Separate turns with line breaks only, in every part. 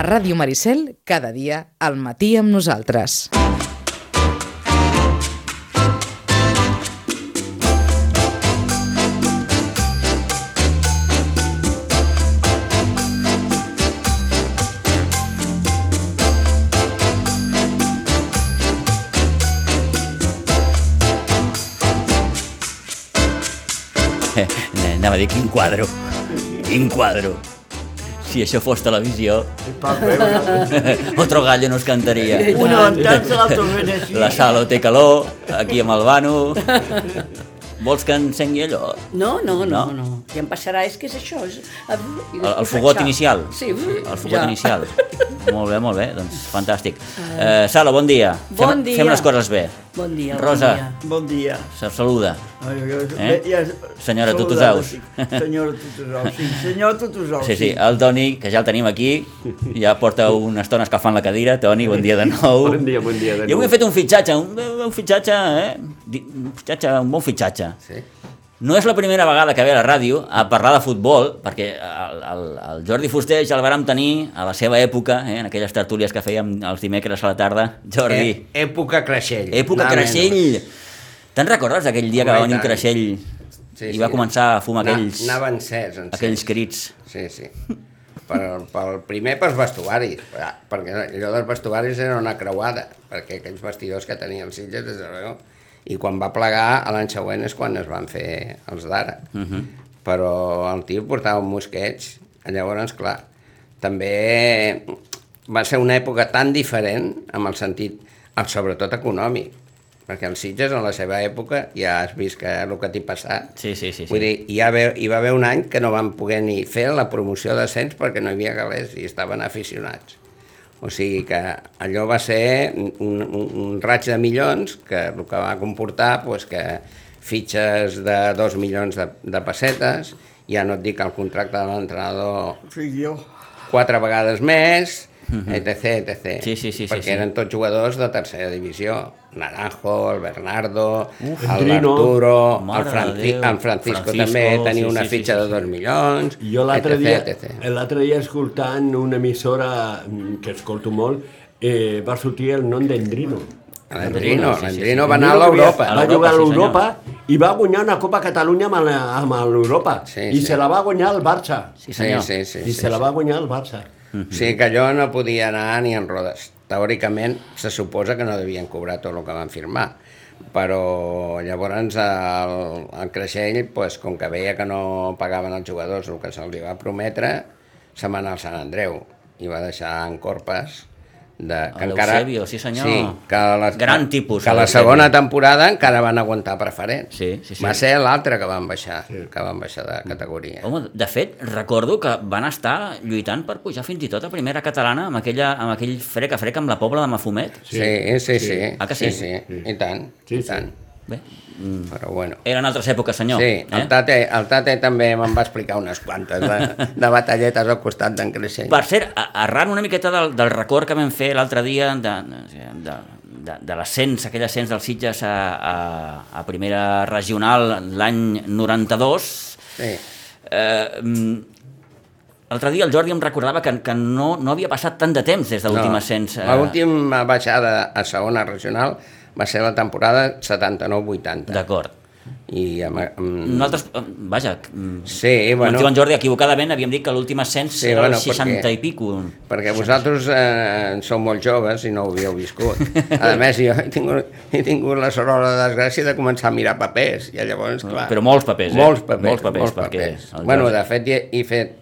A Ràdio Maricel, cada dia, al matí amb nosaltres.
Eh, Anava a dir quin quadro. Quin quadro. Si això fos televisió, Otro gallo nos cantaria.
Una ventança, l'altra ben així.
La Salo té calor, aquí amb el Bano... Vols que encengui allò?
No, no, no,
No?
no. I em passarà, és que és això. És... eh,
El, el fogot inicial?
Sí.
El fogot inicial. Molt bé, molt bé, doncs fantàstic. Eh, Salo, bon dia.
Bon
fem,
dia.
Fem les coses bé.
Bon dia,
Rosa.
bon dia.
Bon dia.
Se saluda.
Ai, jo-
Eh?
ja-
Senyora
saludada,
Tutusaus.
sí. Senyora Tutusaus, sí. Senyor Tutusaus.
Sí, sí, el Toni, que ja el tenim aquí, ja porta una estona escalfant la cadira. Toni, bon dia de nou.
Bon dia, bon dia de
Jo avui
nou.
he fet un fitxatge, un, un fitxatge, eh? Di- Un fitxatge, un bon fitxatge.
Sí?
No és la primera vegada que ve a la ràdio a parlar de futbol, perquè el, el, el Jordi Fuster ja el vàrem tenir a la seva època, eh? en aquelles tertúlies que fèiem els dimecres a la tarda. Jordi,
Eh, època Creixell.
eh, època
Nada menys.
Creixell! Te'n recordes d'aquell dia que
Home,
va
i
venir un
tant.
Creixell
Sí,
i
sí.
va començar a fumar
Na-
aquells,
Anava encès, encès.
aquells crits?
Sí, sí. Per, per, primer pels vestuaris, per- perquè allò dels vestuaris era una creuada, perquè aquells vestidors que tenien els Sitges, des de l'Aragó, i quan va plegar, a l'any següent és quan es van fer els d'ara. Uh -huh. Però el tio portava un mosqueig, llavors, clar, també va ser una època tan diferent amb el sentit, el, sobretot econòmic, perquè els Sitges en la seva època ja has vist que el que t'hi passat,
Sí, sí, sí. sí.
Vull dir, hi, ha, haver- hi va haver un any que no van poder ni fer la promoció d'ascens perquè no hi havia galers i estaven aficionats. O sigui que allò va ser un, un, un raig de milions que el que va comportar pues, que fitxes de dos milions de, de pessetes, ja no et dic el contracte de l'entrenador
Sí, jo.
quatre vegades més, etc, etc.
Mhm. Sí, sí, sí, sí,
Perquè
sí.
eren tots jugadors de tercera divisió. Naranjo, el Bernardo, Uf, el
Trino.
Arturo, el,
Mare
Franci
de Déu.
en Francisco,
Francisco,
també tenia
sí,
una
sí,
fitxa
sí,
de
sí,
dos milions,
Jo l'altre
etc,
dia,
etc.
l'altre dia escoltant una emissora mm, que escolto molt, eh, va sortir el nom d'Endrino.
L'Andrino,
Sí, sí, sí.
l'Andrino va anar a l'Europa.
Va jugar a
sí, senyor.
l'Europa i va guanyar una Copa Catalunya amb la- amb l'Europa.
Sí,
I
sí.
se la va guanyar el Barça.
Sí, senyor.
Sí, sí, sí,
I
sí,
se la
sí.
va guanyar el Barça.
O sigui que allò no podia anar ni en rodes. Teòricament, se suposa que no devien cobrar tot el que van firmar, però llavors el, el Creixell, pues, com que veia que no pagaven els jugadors el que se'ls va prometre, se va anar al Sant Andreu i va deixar en corpes de,
A l'Eusebio, sí, senyor.
Sí, que la,
Gran tipus,
Que la
l'Eusebio.
segona temporada encara van aguantar preferent.
Sí, sí, sí.
Va ser l'altra que van baixar, que van baixar de categoria.
Home, de fet, recordo que van estar lluitant per pujar fins i tot a primera catalana amb, aquella, amb aquell freca-freca amb la Pobla de Mafumet.
Sí, sí, sí. sí.
Ah, que sí?
Sí, sí. I tant, i
Sí, sí.
tant.
Bé, mm,
Però bueno.
eren altres èpoques, senyor. eh?
sí, el, tate, el tate també me'n va explicar unes quantes de, de batalletes al costat d'en Creixell.
Per cert, a- arran una miqueta del, del record que vam fer l'altre dia de, de, de, de l'ascens, aquell ascens dels Sitges a, a, a primera regional l'any 92,
Sí.
eh, mm, l'altre dia el Jordi em recordava que, que no, no havia passat tant de temps des de l'últim ascens. eh,
L'última baixada a segona regional va ser la temporada 79-80.
D'acord.
I amb, amb...
Nosaltres, eh, vaja, mm,
Mm. Sí,
Bueno.
bueno,
Diu en Jordi, equivocadament havíem dit que l'últim ascens
Sí,
sí, era bueno,
bueno,
el 60
perquè-
i pico.
perquè vosaltres eh, sou molt joves i no ho havíeu viscut. A més, jo he tingut, he tingut la sort o la desgràcia de començar a mirar papers, i llavors, clar...
Mm, Però molts papers, eh?
Molts papers,
Molts papers,
molts
perquè
papers.
el
Bueno,
Jordi-
de fet, he, he fet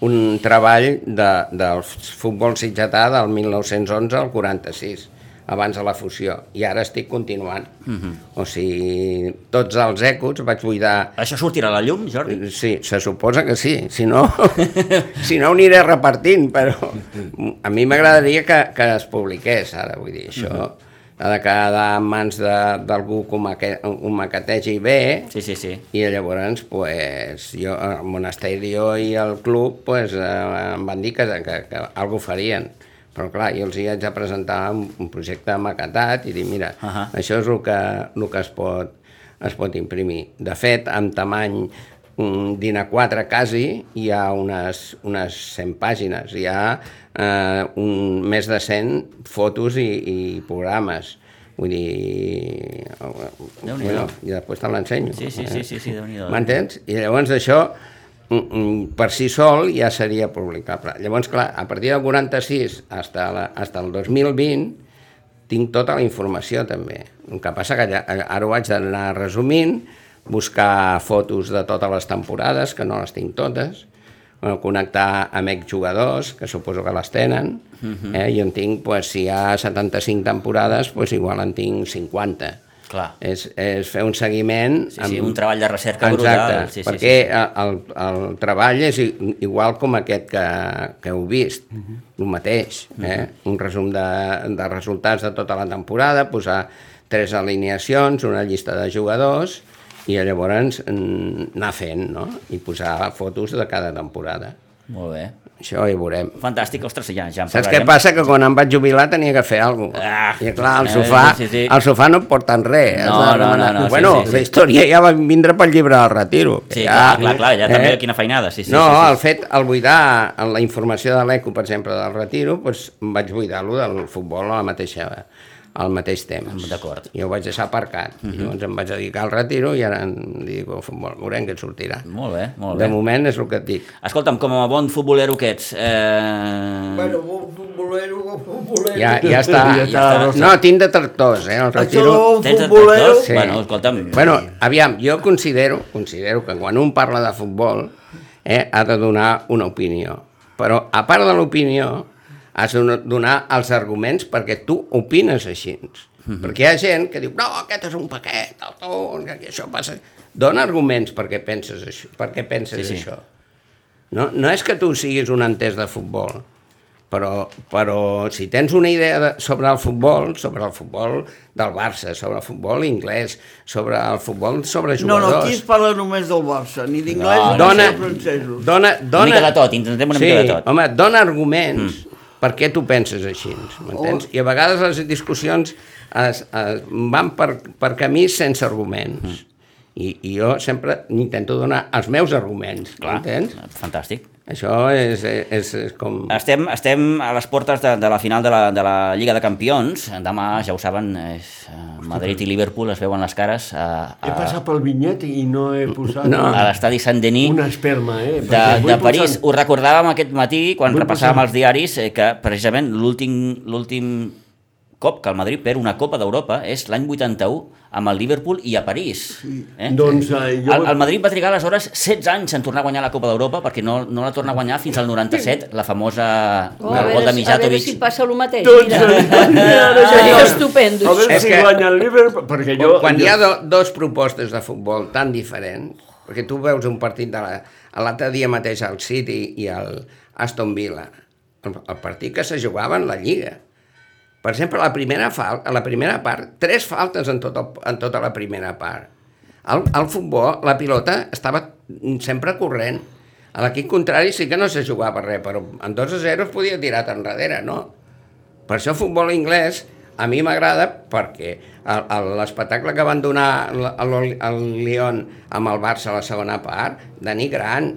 un treball de, del futbol sitgetà del 1911 al 46, abans de la fusió, i ara estic continuant.
Mhm.
O sigui, tots els ècots vaig buidar
Això sortirà a la llum, Jordi?
Eh, Sí, se suposa que sí, si no, si no ho aniré repartint, però a mi m'agradaria que, que es publiqués, ara, vull dir, això ha de quedar en mans de- d'algú que ho maque- ho maquetegi bé,
Sí, sí, sí.
i llavors, pues, jo, el monasterio i el club pues, eh, em van dir que, que, que alguna farien. Però clar, jo els hi haig de presentar un, un projecte maquetat i dir, mira, uh
Ahà.
-huh. això és el que, el que es, pot, es pot imprimir. De fet, amb tamany mm, d'INA4 quasi, hi ha unes, unes 100 pàgines. Hi ha eh, un, més de 100 fotos i, i programes. Vull dir...
Déu-n'hi-do.
Bueno, i després te l'ensenyo.
Sí, sí, sí, sí, sí, Déu-n'hi-do.
M'entens? I llavors això, mm, mm, per si sol, ja seria publicable. Llavors, clar, a partir del 46 hasta, la, hasta el 2020 tinc tota la informació també. El que passa que ja, eh, ara ho haig d'anar resumint, buscar fotos de totes les temporades, que no les tinc totes, bueno, connectar amb exjugadors, que suposo que les tenen, uh
Mhm.
-huh. eh? i en tinc, pues, si hi ha 75 temporades, pues, igual en tinc 50.
Clar.
És, és fer un seguiment...
Sí, sí, un treball de recerca brutal.
Exacte,
Sí, sí,
perquè El, el treball és i- igual com aquest que, que heu vist, uh
Mhm.
-huh. el mateix. Eh? Un resum de, de resultats de tota la temporada, posar tres alineacions, una llista de jugadors i llavors mm, anar fent, no? I posar fotos de cada temporada.
Molt bé.
Això hi veurem.
Fantàstic, ostres, ja, ja en
Saps què
parlarem.
passa? Que quan em vaig jubilar tenia que fer alguna cosa.
Ah,
I clar, el
eh,
sofà,
sí, sí.
El sofà no em porten res. has
No,
de
no, no,
demanar-
no, sí,
bueno,
sí, sí.
la història ja va vindre pel llibre del retiro. que
Sí,
ja,
clar, clar, clar, ja també
eh?
quina feinada, sí, sí.
no,
sí, sí,
el fet, al buidar en la informació de l'ECO, per exemple, del retiro, doncs, em vaig buidar-lo del futbol a la mateixa, al mateix temps.
Mm, D'acord. Mhm.
I ho vaig deixar aparcat. Uh -huh. Llavors em vaig dedicar al retiro i ara em dic, oh, futbol, veurem què et sortirà.
Molt bé, molt
De
bé.
moment és el que et dic.
Escolta'm, com a bon futbolero que ets... Eh...
Bueno, un futbolero, un futbolero.
Ja, ja està.
Ja
està, Rosa.
No, tinc detractors, eh, el retiro.
Això, un
Tens de-
futbolero...
Sí. Bueno, escolta'm.
Bueno, aviam, jo considero, considero que quan un parla de futbol eh, ha de donar una opinió. Però, a part de l'opinió, has de donar els arguments perquè tu opines així.
Mhm.
Perquè hi ha gent que diu, no, aquest és un paquet, el ton, que això passa... Dona arguments perquè penses això. Perquè penses
Sí,
sí,
sí.
sí. això. No, no és que tu siguis un entès de futbol, però, però si tens una idea de, sobre el futbol, sobre el futbol del Barça, sobre el futbol anglès, sobre el futbol sobre
No, no, aquí
jugadors...
es parla només del Barça, ni d'anglès
No,
no,
no,
no,
dona,
ni de francesos.
dona, dona...
Una mica de tot, intentem una
sí,
mica de tot. Mm.
home, dona arguments per què tu penses així,
Oh.
m'entens? I a vegades les discussions es, es van per, per camins sense arguments.
Mm.
I, I jo sempre intento donar els meus arguments,
Clar,
m'entens?
fantàstic.
Això és, és, és com...
Estem, estem a les portes de, de la final de la, de la Lliga de Campions. Demà, ja ho saben, és, eh, Madrid i Liverpool es veuen les cares a, a,
He passat pel vinyet i no he posat
Ah. No.
a l'estadi Saint-Denis.
una esperma, eh?
de,
perquè vull
de París.
posar-
Ho recordàvem aquest matí quan
Vull
repassàvem
posar-
els diaris eh, que precisament l'últim l'últim cop que el Madrid perd una Copa d'Europa és l'any 81 amb el Liverpool i a París. Eh?
Doncs, eh, jo-
el, el Madrid va trigar aleshores 16 anys en tornar a guanyar la Copa d'Europa perquè no, no la torna a guanyar fins al 97, la famosa
Oh,
del gol de
a veure
Mijatovic.
si passa el mateix.
Tots
Mira,
els diaris-
seria
A
estupendo.
veure
És
si
que-
guanya el Liverpool, perquè jo...
quan
jo-
hi ha do, dos propostes de futbol tan diferents, perquè tu veus un partit de la- a l'altre dia mateix al City i al Aston Villa, el, el partit que se jugava en la Lliga. Per exemple, la primera, fal, a la primera part, tres faltes en, tot el, en tota la primera part. Al, al futbol, la pilota estava sempre corrent. A l'equip contrari sí que no se jugava res, però en 2 a 0 es podia tirar enrere, no? Per això el futbol anglès a mi m'agrada perquè el- el- l'espectacle que van donar l- a l'Ol- al Lyon amb el Barça a la segona part, Dani Gran,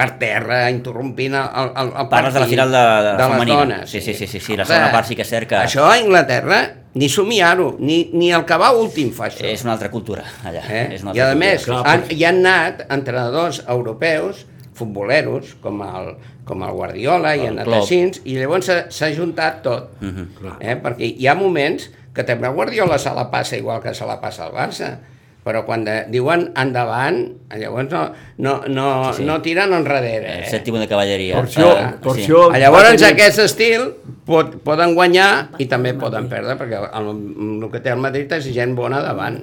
per terra, interrompint el, el, el partit.
Parles de la final de- de la
les
femenina.
dones.
Sí, sí, sí, sí, sí, la segona part sí que és cert que-
Això a Inglaterra, ni somiar-ho, ni, ni el que va últim fa això.
És una altra cultura, allà.
Eh?
És una
I a
altra
més,
cultura.
Clar,
han,
però-
hi han anat entrenadors europeus, futboleros, com el, com el Guardiola, i han anat
Klopp. Mhm,
així, i llavors s'ha- s'ha juntat tot. eh? Perquè hi ha moments que també el Guardiola se la passa igual que se la passa al Barça, però quan de, diuen endavant, llavors no, no, no,
Sí, sí.
no tiren enrere.
El
Eh?
sèptimo de cavalleria.
Per això,
Ah,
per
sí.
això...
Llavors,
va tenir-
aquest estil pot, poden guanyar i també poden perdre, perquè el, el que té el Madrid és gent bona davant.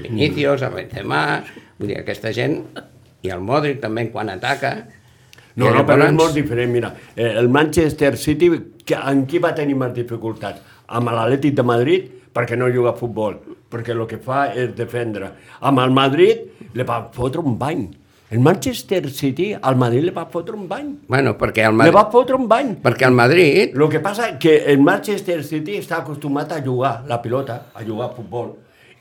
Vinicius, el Benzema, vull dir, aquesta gent, i el Modric també quan ataca.
No,
I
no, però és
llavors-
molt diferent, mira. Eh, el Manchester City, que, en qui va tenir més dificultats? Amb l'Atlètic de Madrid, perquè no juga a futbol, perquè el que fa és defendre. Amb el Madrid li va fotre un bany. El Manchester City al Madrid li va fotre un bany.
Bueno, perquè el
Madrid. Li va
Madrid,
fotre un bany.
perquè el Madrid
El que passa és que el Manchester City està acostumat a jugar la pilota, a jugar a futbol.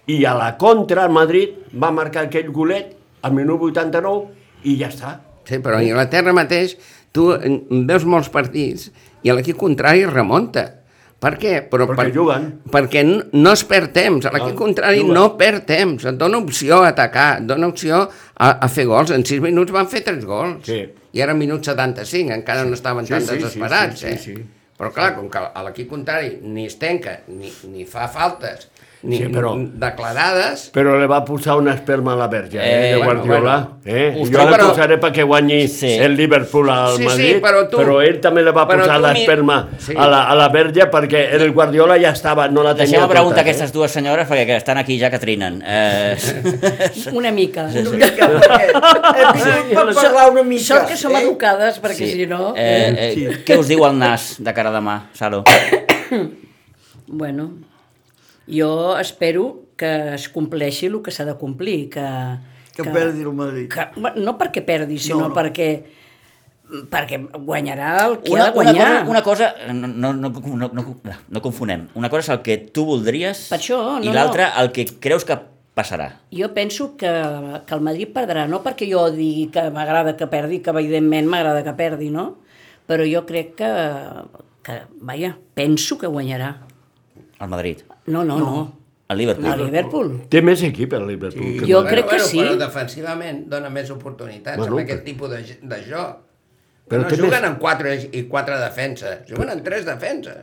I a la contra, el Madrid va marcar aquell golet al minut 89 i ja està.
Sí, però a Inglaterra mateix tu en- veus molts partits i l'equip contrari remunta. Per què? Però
Perquè juguen.
Perquè n- no es perd temps. L'equip
No,
contrari
juguen.
no perd temps. Et dona opció a atacar, et dona opció a, a fer gols. En 6 minuts van fer 3 gols.
Sí.
I era minut 75, encara no estaven
Sí,
tan
sí, sí,
desesperats.
sí, sí,
eh?
sí.
Però clar, com que a l'equip contrari ni es tenca, ni, ni fa faltes, ni
Sí, però-
ni declarades...
Però le va posar una esperma a la verge, eh,
Eh,
de
bueno,
Guardiola.
bueno.
Eh?
Ostres,
Jo la
però-
posaré perquè guanyi
Sí.
el Liverpool al
Sí, sí,
Madrid,
però tu-
però ell també le va
però
posar
tu mi-
l'esperma
Sí.
a, la, a la verge perquè el Guardiola ja estava, no la tenia eh?
Deixem-me preguntar a
comptat,
aquestes dues senyores perquè que estan aquí ja que trinen. Eh,
Una mica. Sí, sí.
Mica, perquè Eh, Hem vingut per parlar una mica.
Sort que som
eh?
educades, perquè si no...
Eh, eh,
Sí.
Què us diu el nas de cara de mà, Salo?
Bueno, jo espero que es compleixi el que s'ha de complir, que...
Que perdi el Madrid.
Que, bueno, no perquè perdi, sinó
no.
perquè perquè guanyarà el que ha
Una,
de
una
guanyar.
cosa, una cosa no, no, no, no, no, no confonem. Una cosa és el que tu voldries
Per això, no,
i l'altra el que creus que passarà.
Jo penso que, que el Madrid perdrà, no perquè jo digui que m'agrada que perdi, que evidentment m'agrada que perdi, no? Però jo crec que, que, vaja, penso que guanyarà.
El Madrid,
No, no, no.
el
no. El
Liverpool.
Liverpool.
Eh? Té més equip el
Sí,
Liverpool. que
Jo
el
crec que
bueno,
sí.
Però defensivament dona més oportunitats bueno,
Bueno,
amb aquest
però-
tipus de, ge- de joc.
Però
Però no
té
juguen
més-
amb quatre i quatre defenses, juguen amb tres defenses.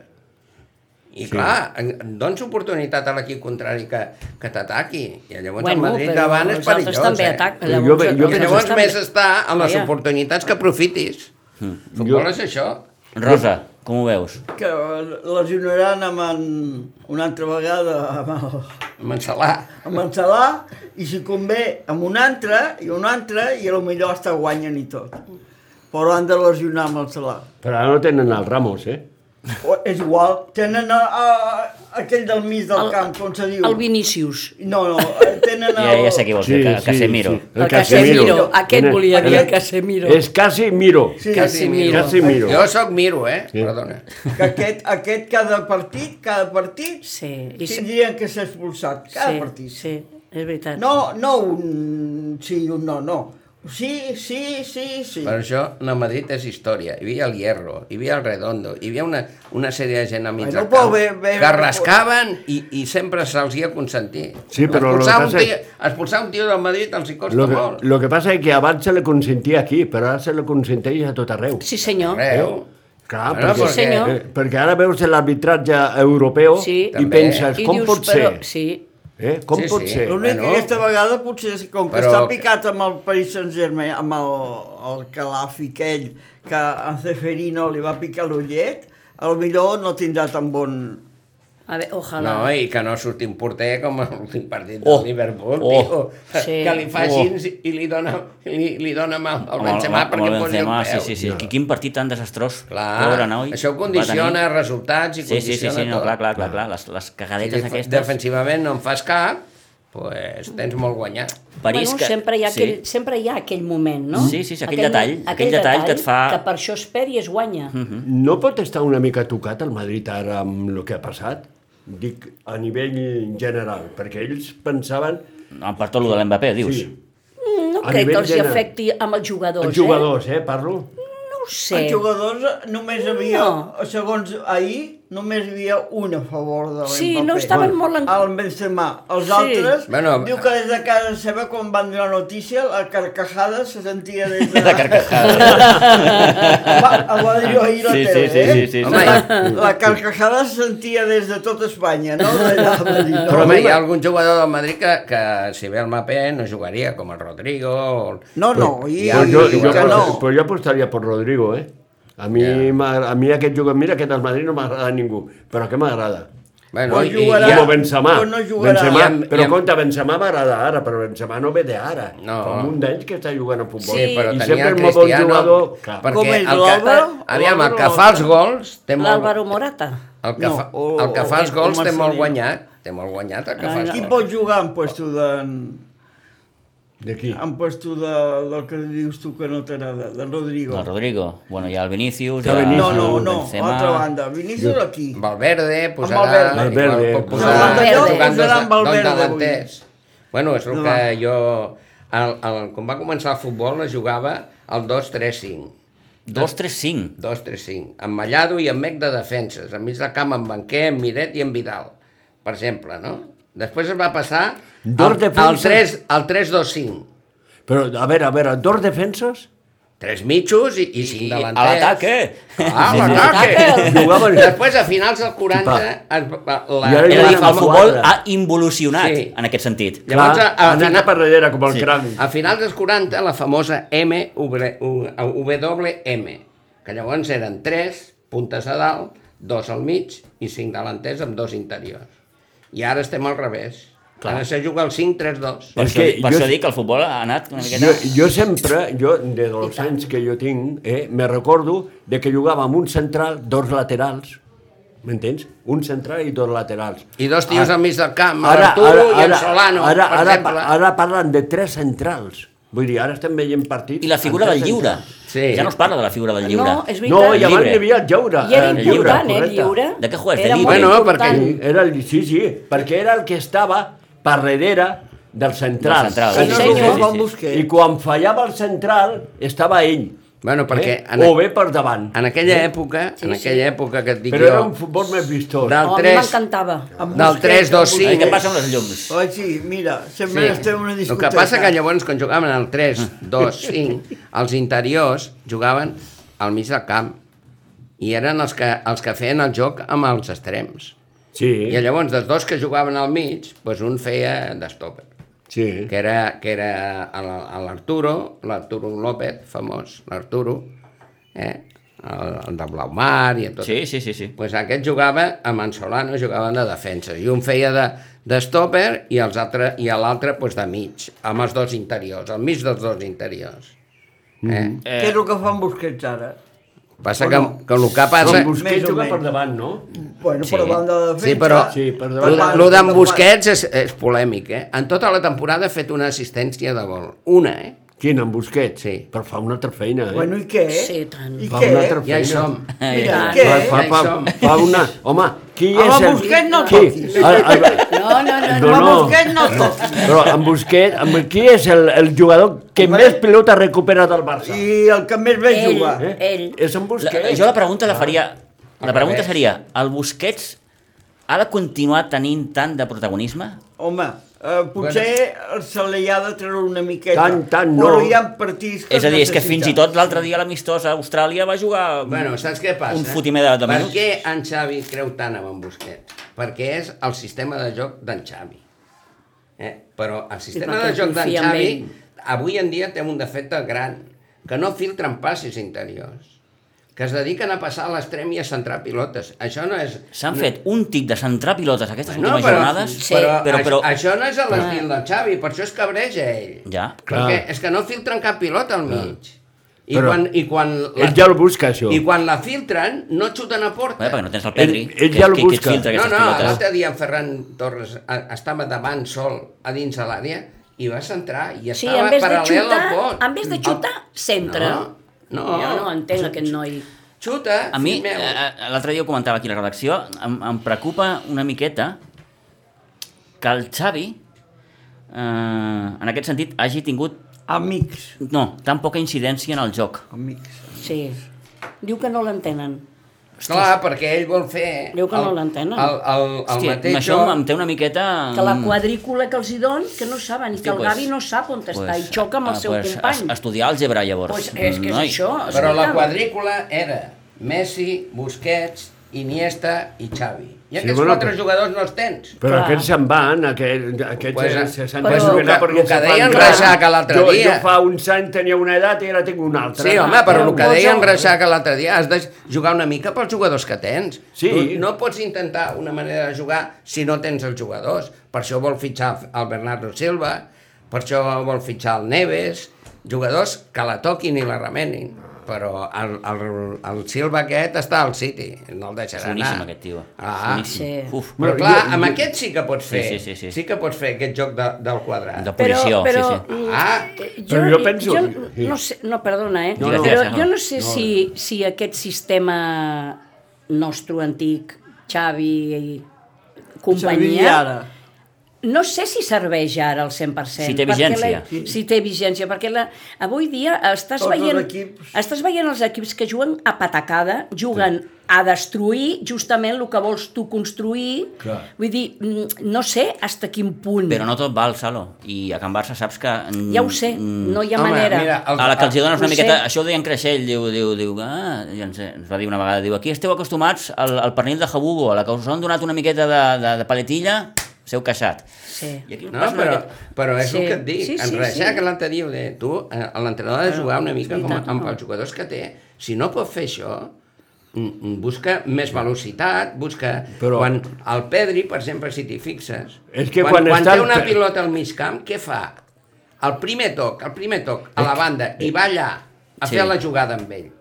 I sí. clar, en- en dones oportunitat a l'equip contrari que, que t'ataqui. I llavors bueno, el Madrid davant és
els altres
perillós.
també
eh?
ataquen.
Jo
Llavors,
ve- jo
els
Jo
veig-
que
altres
llavors
també-
més està a les
Vaja.
oportunitats que aprofitis. Futbol és això.
Rosa, com ho veus?
Que lesionaran amb en, una altra vegada amb el,
Mansalà.
amb en Salah i si convé amb un altre i un altre i a lo millor hasta guanyen i tot. Però han de lesionar amb el Salah.
Però ara no tenen el Ramos, eh?
O, és igual, tenen a, a, a aquell del mig del
El-
camp, com se diu?
El Vinícius.
No, no, tenen
Ja,
el...
ja sé qui vols dir, que, Casemiro.
El Casemiro. Aquest volia dir, el Casemiro.
És Casemiro.
Sí,
Casemiro.
Casemiro.
Jo sóc Miro, eh? Sí. Perdona.
que aquest, aquest cada partit, cada partit,
Sí, i se-
tindrien que ser expulsat, cada
sí,
partit.
Sí, és veritat.
No, no un sí i un no, no. Sí, sí, sí, sí.
Per això la Madrid és història. Hi havia el Hierro, hi havia el Redondo, hi havia una, una sèrie de gent a mig
Bueno,
del
però
camp
bé- bé-
que rascaven i, i sempre se'ls hi ha consentit.
Sí, però lo
expulsar,
que
un
passa-
tio, expulsar un tio del Madrid els hi costa
Lo que,
molt.
lo que passa és que abans se le consentia aquí, però ara se le consenteix a tot arreu.
Sí, senyor.
Arreu.
Clar,
Bueno,
perquè,
Sí,
senyor.
eh, perquè ara veus l'arbitratge europeu
Sí.
i
També.
penses,
I
com
dius,
pot
però,
ser?
Sí,
Eh? Com
Sí,
pot
sí.
ser?
L'únic
Bueno.
que aquesta vegada potser és que com que
Però-
està picat amb el Paris Saint-Germain, amb el, el calàfic aquell que a Ceferino li va picar l'ullet, a lo millor no tindrà tan bon...
a veure, ojalà.
No, i que no surti un porter com a l'últim partit del
Oh.
Liverpool,
Oh.
tio,
Sí.
que li fa
Oh.
així i li dona, li, li dona mal al
Amb el-
Benzema
amb el
perquè posi el
Benzema,
peu.
Sí, sí, sí. Quin partit tan desastrós.
Clar,
Pobre noi.
això
Va
condiciona
tenir.
resultats i
Sí, sí, sí,
condiciona
sí, no,
tot.
clar, clar, clar, clar. Les, les cagadetes
si def-
doncs aquestes...
defensivament no en fas cap, pues tens molt guanyat.
París
bueno,
que-
sempre, hi ha
sí.
aquell, sempre hi ha aquell moment, no?
Sí, sí, sí, aquell detall,
aquell,
aquell detall que et fa- Mhm.
Que per això es perd i es guanya. Mm -hmm.
No pot estar una mica tocat el Madrid ara amb el que ha passat? Dic, a nivell general, perquè ells pensaven
No, per tot lo de l'Mbappé, dius?
Sí.
Mm, No
A
crec
nivell
que els hi
general.
afecti amb els jugadors,
els jugadors, eh, parlo?
eh? No ho sé.
Sí. Els jugadors eh, només havia,
No.
segons ahir, només hi havia un a favor de l'Mbappé.
Sí, no estaven molt en-
El Benzema. Els
Sí.
sí. altres, bueno,
Bueno,
diu que des de casa seva, quan van donar notícia, la carcajada se sentia des de...
La carcajada.
Va, ho va dir jo ahir a la
Sí, sí,
tele,
sí,
eh?
sí, sí.
Home,
sí.
La carcajada se sentia des de tot Espanya, no? D'allà, va dir, no?
Però home, hi ha algun jugador del Madrid que, que si ve el Mapé no jugaria, com el Rodrigo... O... el-
No, no, i,
Ja,
Però
i
jo,
sí,
jo,
que
ja,
no.
però jo apostaria per Rodrigo, eh? A mi,
Ja.
yeah. a mi aquest jugador, mira, aquest del Madrid no m'agrada a ningú, però que m'agrada?
Bueno,
Però
i, i,
jugarà-
hi
Ja,
ha,
com Benzema.
però no jugarà.
Benzema
I amb-
però
i amb-
compte, Benzema m'agrada ara, però Benzema no ve d'ara.
No.
Fa un munt d'anys que està jugant a futbol.
sí, però
I
tenia
sempre
el
el molt bon
Cristiano...
jugador... Clar.
Com
Perquè
és,
el que,
l'Álvaro?
aviam, el que
L'Álvaro?
fa els gols... Té molt,
L'Álvaro Morata.
el que,
No,
fa,
o-
el que
o-
fa els
o
gols té molt
Marcelino.
guanyat. Té molt guanyat el que fa els
Qui
gols.
pot jugar en puesto de...
D'aquí.
En puesto de, del que dius tu que no t'agrada, de Rodrigo.
El Rodrigo. Bueno, hi ha el Vinícius, hi
El
ha
Vinícius.
No, no, no,
Benzema.
altra banda. Vinícius aquí.
Valverde posarà...
Valverde.
Valverde.
Pot posar,
No, Valverde,
jugant
posarà
dos-
en Valverde
dos
avui.
davanters. Bueno, és el
No
que
va.
jo... El, el, quan va començar el futbol es jugava el 2-3-5.
2-3-5.
2-3-5. Amb Mallado i amb Mec de defenses. Enmig del camp amb Banquer, amb Miret i amb Vidal, per exemple, no? Després es va passar
Dos
al, al
defenses.
3 al 3-2-5.
Però, a veure, a veure, dos defenses?
Tres mitjos i, i cinc
I a
davanters.
l'atac, eh?
Ah, a
Ataque.
l'ataque! Després, a finals del 40...
Va.
Es, va- la,
I
És a
ara
dir, el
Quatre.
futbol ha involucionat
Sí.
en aquest sentit.
Llavors,
Clar,
a, a,
anar
fina-
cap darrere, com el
Sí.
cranc.
a finals dels 40, la famosa M, W, WM, que llavors eren 3 puntes a dalt, dos al mig i cinc davanters amb dos interiors. I ara estem al revés.
Clar.
Ara se juga el 5-3-2.
Per,
És
això,
que
per
jo-
això dic que el futbol ha anat una miqueta...
Jo, jo sempre, jo, de dels anys que jo tinc, eh, me recordo de que jugava amb un central, dos laterals, m'entens? Un central i dos laterals.
I dos tios al mig del camp, l'Arturo i el Solano,
ara,
per
ara,
exemple.
ara parlen de tres centrals. Vull dir, ara estem veient partits...
I la figura
amb
del
tres
lliure.
Sí.
Ja no es parla de la figura del lliure.
No, és
centrals. No,
veritat.
i abans
Llibre.
hi havia el lliure.
I era
Ah, el
important, eh,
correcte.
lliure.
De què jugues? De
Era
llibre?
molt
Bueno,
important.
perquè-
Era el, sí, sí, perquè era el que estava per darrere del central.
Del central,
Que
sí,
no
sí,
sí,
sí,
jugava
sí.
el Busquets.
I quan fallava el central, estava ell.
Bueno, perquè
eh?
en,
O bé per davant. Eh?
en aquella època,
Sí,
en
sí.
aquella època que et dic
Però era
jo,
un futbol més vistós.
del
Oh, a mi
3,
m'encantava.
Amb
del
Busquets,
3-2-5.
Ai, què passa amb les llums?
Oi, sí, mira, sempre sí. estem en una
El
discoteca.
que passa que llavors, quan jugaven al 3, 2, 5, els interiors jugaven al mig del camp i eren els que, els que feien el joc amb els extrems.
Sí,
I llavors, dels dos que jugaven al mig, doncs un feia d'estopper,
sí.
que era, que era el- el- l'Arturo, l'Arturo López, famós, l'Arturo, eh? el, el de Blaumar i tot.
Sí, sí, sí, sí.
Pues aquest jugava, amb en Solano jugaven de defensa, i un feia de, de stopper i els altre, i a l'altre pues, de mig, amb els dos interiors, al mig dels dos interiors. Eh?
Mm-hmm.
Mm.
Què és el que fan Busquets ara?
Passa que, que el que passa...
Però Busquets
Més o
juga
menys.
per davant, no?
Bueno,
Sí.
per banda de defensa...
Sí, però
Sí, per davant.
el
Per
el d'en
davant.
Busquets és, és polèmic, eh? En tota la temporada ha fet una assistència de gol. Una, eh?
Quin, en Busquets?
Sí.
Però fa una altra feina, eh?
Bueno, i què?
Sí, tant.
I
fa
què?
una altra feina.
Ja hi som.
Eh,
Mira,
tant.
i què? Ah,
Fa, fa,
Ja hi
fa,
som.
fa una... Home, qui
Home,
és el...
Busquets no el
qui?
toquis.
El, el,
No, no, no,
No,
no.
Amb
no.
Busquets no toqui.
però en Busquets, amb, qui és el, el jugador que
Home.
més pilota recupera del Barça?
I el que més bé
Ell,
jugar.
Eh?
ell.
És en
La,
Busquets.
jo la pregunta
Ah.
la faria... La
Al
pregunta
revés.
seria, el Busquets ha de continuar tenint tant de protagonisme?
Home, eh, potser se li ha de treure una miqueta.
Tant, tant, no.
Però hi ha partits que
És a dir, és que
necessiten.
fins i tot l'altre dia l'amistosa a Austràlia va jugar...
Bueno, saps què passa?
Un fotimer de- de
Per
minuts.
què en Xavi creu tant en en Busquets? Perquè és el sistema de joc d'en Xavi. Eh? Però el sistema
perquè
de joc d'en
confia en
Xavi
ell.
avui en dia té un defecte gran, que no filtren passes interiors, que es dediquen a passar a l'extrem i a centrar pilotes. Això no és...
S'han fet un tip de centrar pilotes aquestes
No,
últimes
però,
jornades,
Sí.
però,
però, però,
aix- això no és a l'estil del Xavi, per això es cabreja ell.
Ja.
Perquè
Clar.
és que no filtren cap pilota al mig. I,
Però
quan, i quan la-
Ell ja el busca, això.
i quan la filtren, no et xuten a porta.
Bé, perquè no tens el Pedri,
Ell- ell ja el
que, que,
busca.
et filtra
no,
aquestes
no,
pilotes.
l'altre dia en Ferran Torres a- estava davant sol a dins de l'àrea i va centrar i
Sí,
estava
en vez de
paral·lel
xutar,
al Mm. pot.
en vez de xutar, centra.
No, no.
Jo no entenc aquest noi.
Xuta,
A mi,
fill meu.
eh, l'altre dia ho comentava aquí a la redacció, em, em preocupa una miqueta que el Xavi, eh, en aquest sentit, hagi tingut
Amics,
no, tan poca incidència en el joc.
amics.
Sí. Diu que no l'entenen.
Clar, perquè ell vol fer...
Diu que no
el-
l'entenen.
El, el, el, el
Hòstia,
mateix
això
joc.
em té una miqueta...
Que la
mm,
quadrícula que els hi don, que no saben, i que
hòstia,
el
pues,
Gavi no sap on està,
pues,
i xoca amb el
ah,
seu
pues,
company.
es- Estudiar àlgebra, llavors.
Pues és que és
Noi.
això.
Però la
escolta'm.
quadrícula era Messi, Busquets, Iniesta i Xavi. I aquests
bueno,
quatre
però-
jugadors no els tens.
Però
Clar.
aquests se'n van, aquells, aquests
Pues,
pues, se s'han
pues,
de superar
el que- el que
se fan
deien
grans.
Reixac l'altre
Jo-
dia.
Jo fa uns anys tenia una edat i ara tinc una altra.
Sí, home, però el que
Posa-
deia en Reixac l'altre dia, has de jugar una mica pels jugadors que tens.
Sí.
Tu no pots intentar una manera de jugar si no tens els jugadors. Per això vol fitxar el Bernardo Silva, per això vol fitxar el Neves, jugadors que la toquin i la remenin. Però el, el, el Silva aquest està al City, no el
És
deixarà
boníssim,
anar.
aquest tio.
Ah,
Boníssim.
Sí.
Uf,
Però
Bueno,
clar,
jo-
amb
jo-
aquest sí que pots fer,
sí, sí, sí.
sí que pots fer aquest joc de, del quadrat.
de posició,
però,
sí, sí.
mm,
Ah,
eh,
però jo penso-
Jo, no, sé, no, perdona, eh?
No,
no.
però
no.
jo no sé si, si aquest sistema nostre antic, Xavi i
Xavi i
companyia,
ara.
No sé si serveix ara al 100%.
Si té
perquè
vigència.
La, si té vigència, perquè la, avui dia estàs
Tots els
veient,
equips.
estàs veient els equips que juguen a patacada, juguen a destruir justament el que vols tu construir.
Clar.
Vull dir, mm, no sé hasta quin punt.
Però no tot val, Salo. I a Can Barça saps que... mm,
Ja ho sé,
mm,
no hi ha
Home,
manera.
mira, el-
a la que els hi dones una
Ho
miqueta...
sé.
Això ho deia en Creixell, diu, diu, diu, ah, i ens, ens va dir una vegada, diu, aquí esteu acostumats al, al pernil de jabugo, a la que us han donat una miqueta de, de, de paletilla, s'heu queixat.
Sí.
I aquí us
No,
passa una
però,
miqueta-
però és
Sí.
el que et dic.
Sí, sí,
Sí, sí, en Reixac
sí.
sí. l'altre dia ho deia, tu, eh, l'entrenador ha de jugar una mica
és
com,
veritat,
amb
no.
els jugadors que té. Si no pot fer això, mm, mm, busca més velocitat, busca...
Però-
Però... Quan el Pedri, per exemple, si t'hi fixes,
És que
quan,
quan
quan
està
té
el
una
Pe-
pilota al mig camp, què fa? El primer toc, el primer toc, a la banda, i va allà a
Sí.
fer la jugada amb ell.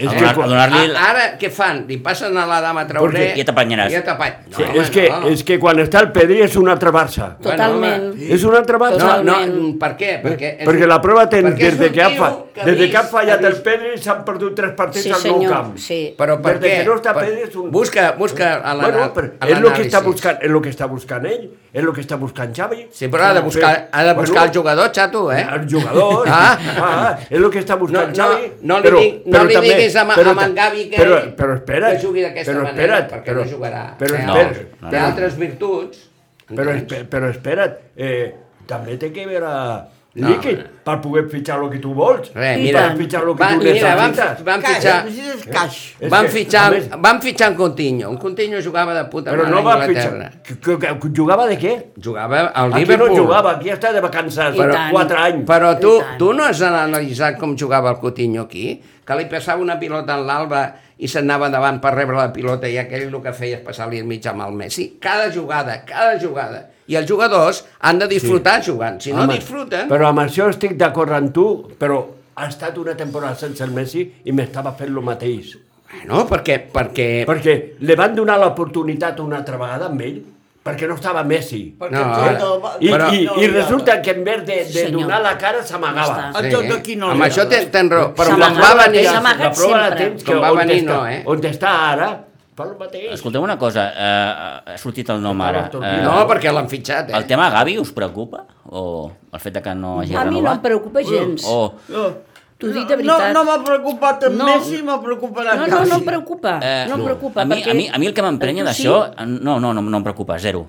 És
A
que,
donar- a
quan,
donar- Donar-li
A- Ara què fan? Li passen a la dama Traoré...
Perquè- Ja t'apanyaràs.
Ja t'apany-
sí,
No,
és, que,
home, no.
és que quan està el Pedri és una altra Barça.
Totalment.
Bueno, home.
És una altra Barça.
No, no,
Totalment.
per què? Perquè, és
Eh, perquè
un-
la prova té,
Eh, perquè és
des de
un
que, ha,
tio
fa,
que ha
des de que ha
vist-
fallat
ha
el
vist-
Pedri s'han perdut tres partits
Sí,
al nou
senyor,
camp.
sí.
Però per
Des de
què?
que no està
Per-
Pedri és un...
Busca, busca a la...
Bueno, però és el que està buscant, és el que està buscant ell, és el que està buscant Xavi.
Sí, però ha de buscar, ha de buscar el
Bueno,
jugador, xato, eh?
El jugador,
Ah.
ah, és el que està
No,
buscant
no,
Xavi.
no li, però, dic, no li diguis a, ma- a Mangavi que,
però, però espera't,
que jugui d'aquesta
però
manera,
espera't,
perquè
però,
no jugarà.
Però
té,
espera't,
altres-
no,
té
no.
altres virtuts.
però,
entens?
espe- però espera't, eh, també té que veure
No,
líquid
no.
per poder fitxar el que tu vols.
Res,
i
mira,
per fitxar el que
van,
tu
mira, van,
necessites.
van
Caix,
fitxar...
necessites caix.
És
Van
que,
fitxar,
a més-
van fitxar en Coutinho. En Coutinho jugava de puta
Però
mare
no
a
va
Anglaterra.
fitxar. Que, que, que jugava de què?
Jugava al
Aquí
Liverpool.
no jugava, aquí està de vacances,
I
però,
tant.
4 anys.
Però
I
tu,
tant.
tu no has analitzat com jugava el Coutinho aquí? Que li passava una pilota en l'alba i se'n anava davant per rebre la pilota i aquell el que feia és passar-li enmig amb el Messi. Cada jugada, cada jugada. I els jugadors han de disfrutar sí. jugant. Si no
Home,
disfruten...
Però amb això estic d'acord amb tu, però ha estat una temporada sense el Messi i m'estava fent el mateix.
Bueno, perquè... perquè...
Perquè li van donar l'oportunitat una altra vegada amb ell, perquè no estava Messi.
Perquè
No,
en
ara-
tot el-
Ah. I,
Però-
i, i resulta que en vez de,
Sí,
de
senyor.
donar la cara s'amagava.
Ja
està. en tot aquí no li
Amb això
agrada.
tens ten raó. Però
S'amaga.
quan va venir...
S'amaga. amagat
la prova
sempre.
la tens que
Com va
on
venir,
està,
no, eh?
on està ara, fa el mateix.
Escolteu una cosa, eh, ha sortit el nom ara. Eh,
No, perquè l'han fitxat, eh?
El tema Gavi us preocupa? O el fet de que no hagi
A mi no em
renovat?
preocupa gens.
O,
No.
T'ho dic
No,
de
No,
veritat.
no m'ha preocupat en
No.
Messi, m'ha preocupat en
No, no, no em
Messi.
preocupa,
eh,
no em preocupa.
a mi,
perquè
a mi, a mi el que m'emprenya
tu
d'això... No, no, no, no em preocupa, zero.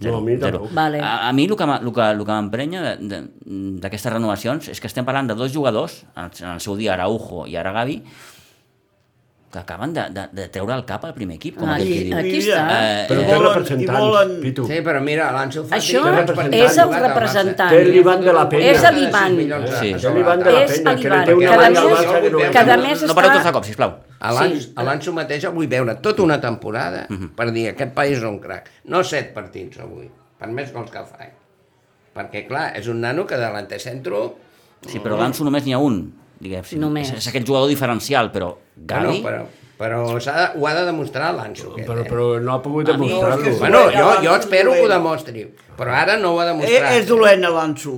No, a mi
Zero.
tampoc.
Vale.
A, a mi el que, m'ha- el que, el que m'emprenya de- de- d'aquestes renovacions és que estem parlant de dos jugadors, en el- en el seu dia Araujo i ara Gavi, que acaben de, de, de treure el cap al primer equip, com
Ah,
aquell que
i-
diu.
aquí
Mira,
està.
Eh,
Però
i
té
volen- i
representants,
volen-
Pitu.
Sí, però mira, l'Anso Fati...
Això és
que ha
el
jugat al Barça.
representant.
Té l'Ivan de la Penya.
És l'Ivan.
Sí.
És l'Ivan de la
És
Penya, que li
l'Ivan,
treu
que
una
a
banda al
més-
Barça que no li
que a
treu.
més
no pareu
està-
tots
tota
de cop, sisplau.
A l'An-
Sí.
a l'Anso mateix el vull veure tota una temporada per dir aquest país és un crac. No set partits avui, per més gols que fa. eh? Perquè, clar, és un nano que de l'antecentro...
Sí, però d'Anso només n'hi ha un. Diguem,
Només.
És, és aquell jugador diferencial, però
Bueno,
Gavi...
però però s'ha de, ho ha de demostrar l'Anso. aquest,
Però,
eh?
però no ha pogut
A mi-
demostrar-lo.
Bueno, jo, jo espero que ho demostri, però ara no ho ha
Eh,
demostrat.
és dolent l'Anso.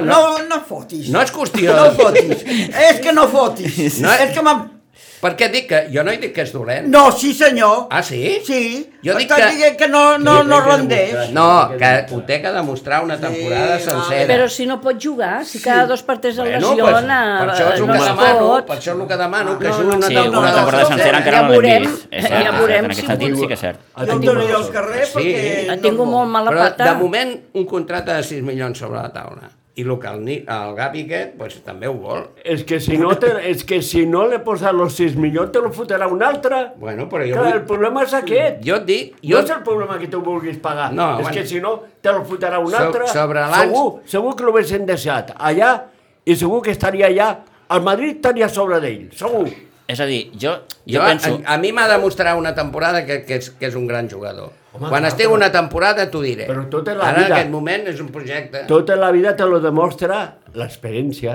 No,
no.
no fotis.
No és qüestió.
No fotis. és que no fotis.
No.
eh.
És que m'han...
Perquè dic que... Jo no he dit que és dolent.
No, sí senyor.
Ah, sí?
Sí.
Jo dic
Estàs
que-
dient que no, no,
Sí,
no
que demostrar.
rendeix.
No, que ho té que demostrar una temporada
Sí,
sencera.
Però si no pot jugar, si cada dos partits el
Bueno, pues,
lesiona,
per això és el
no
que
es
demano,
pot.
per això és el que demano, que
No,
jugui
no,
una
Sí,
no, no,
una
no,
temporada
no,
sencera
eh?
ja
encara no l'hem
veurem,
vist. És
ja
cert, és cert, en
veurem si
aquest sentit
ho-
sí que és cert.
Ah,
Jo em donaré al carrer
Sí.
perquè...
Ha
no
tingut Ah, molt mala
Però
pata.
de moment un contracte de 6 milions sobre la taula. I el que el, Ni- el Gavi aquest pues, també ho vol.
És que si no, te, és que si no li posa los 6 milions, te lo fotrà un altre.
Bueno, però jo,
Clar, el
vull,
problema és aquest.
jo et dic...
Jo... No
Jo,
és el problema que tu vulguis pagar. No,
No,
és
bueno.
que si no, te lo fotrà un
So-
altre.
sobre l'ans-
segur, segur que l'haguessin deixat allà i segur que estaria allà. El Madrid estaria a sobre d'ell, segur.
És a dir, jo, jo,
jo,
penso...
a, a mi m'ha de mostrar una temporada que, que, és, que és un gran jugador.
Home,
Home, Quan
clar,
estigui
però-
una temporada t'ho diré.
però tota la
Ara
vida-
en aquest moment és un projecte.
Tota la vida te lo demostra l'experiència,